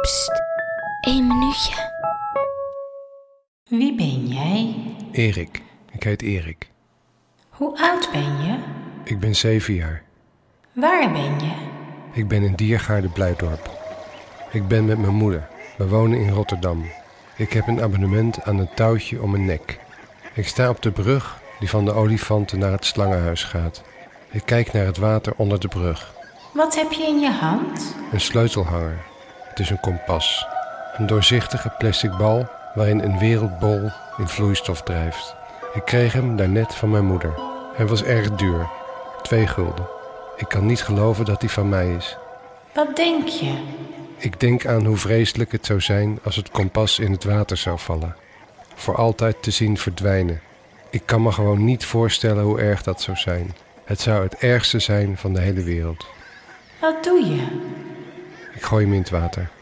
Pst, één minuutje. Wie ben jij? Erik. Ik heet Erik. Hoe oud ben je? Ik ben zeven jaar. Waar ben je? Ik ben in Diergaarde Blijdorp. Ik ben met mijn moeder. We wonen in Rotterdam. Ik heb een abonnement aan een touwtje om mijn nek. Ik sta op de brug die van de olifanten naar het slangenhuis gaat. Ik kijk naar het water onder de brug. Wat heb je in je hand? Een sleutelhanger. Het is een kompas. Een doorzichtige plastic bal waarin een wereldbol in vloeistof drijft. Ik kreeg hem daarnet van mijn moeder. Hij was erg duur. Twee gulden. Ik kan niet geloven dat hij van mij is. Wat denk je? Ik denk aan hoe vreselijk het zou zijn als het kompas in het water zou vallen. Voor altijd te zien verdwijnen. Ik kan me gewoon niet voorstellen hoe erg dat zou zijn. Het zou het ergste zijn van de hele wereld. Wat doe je? Ik gooi hem in het water.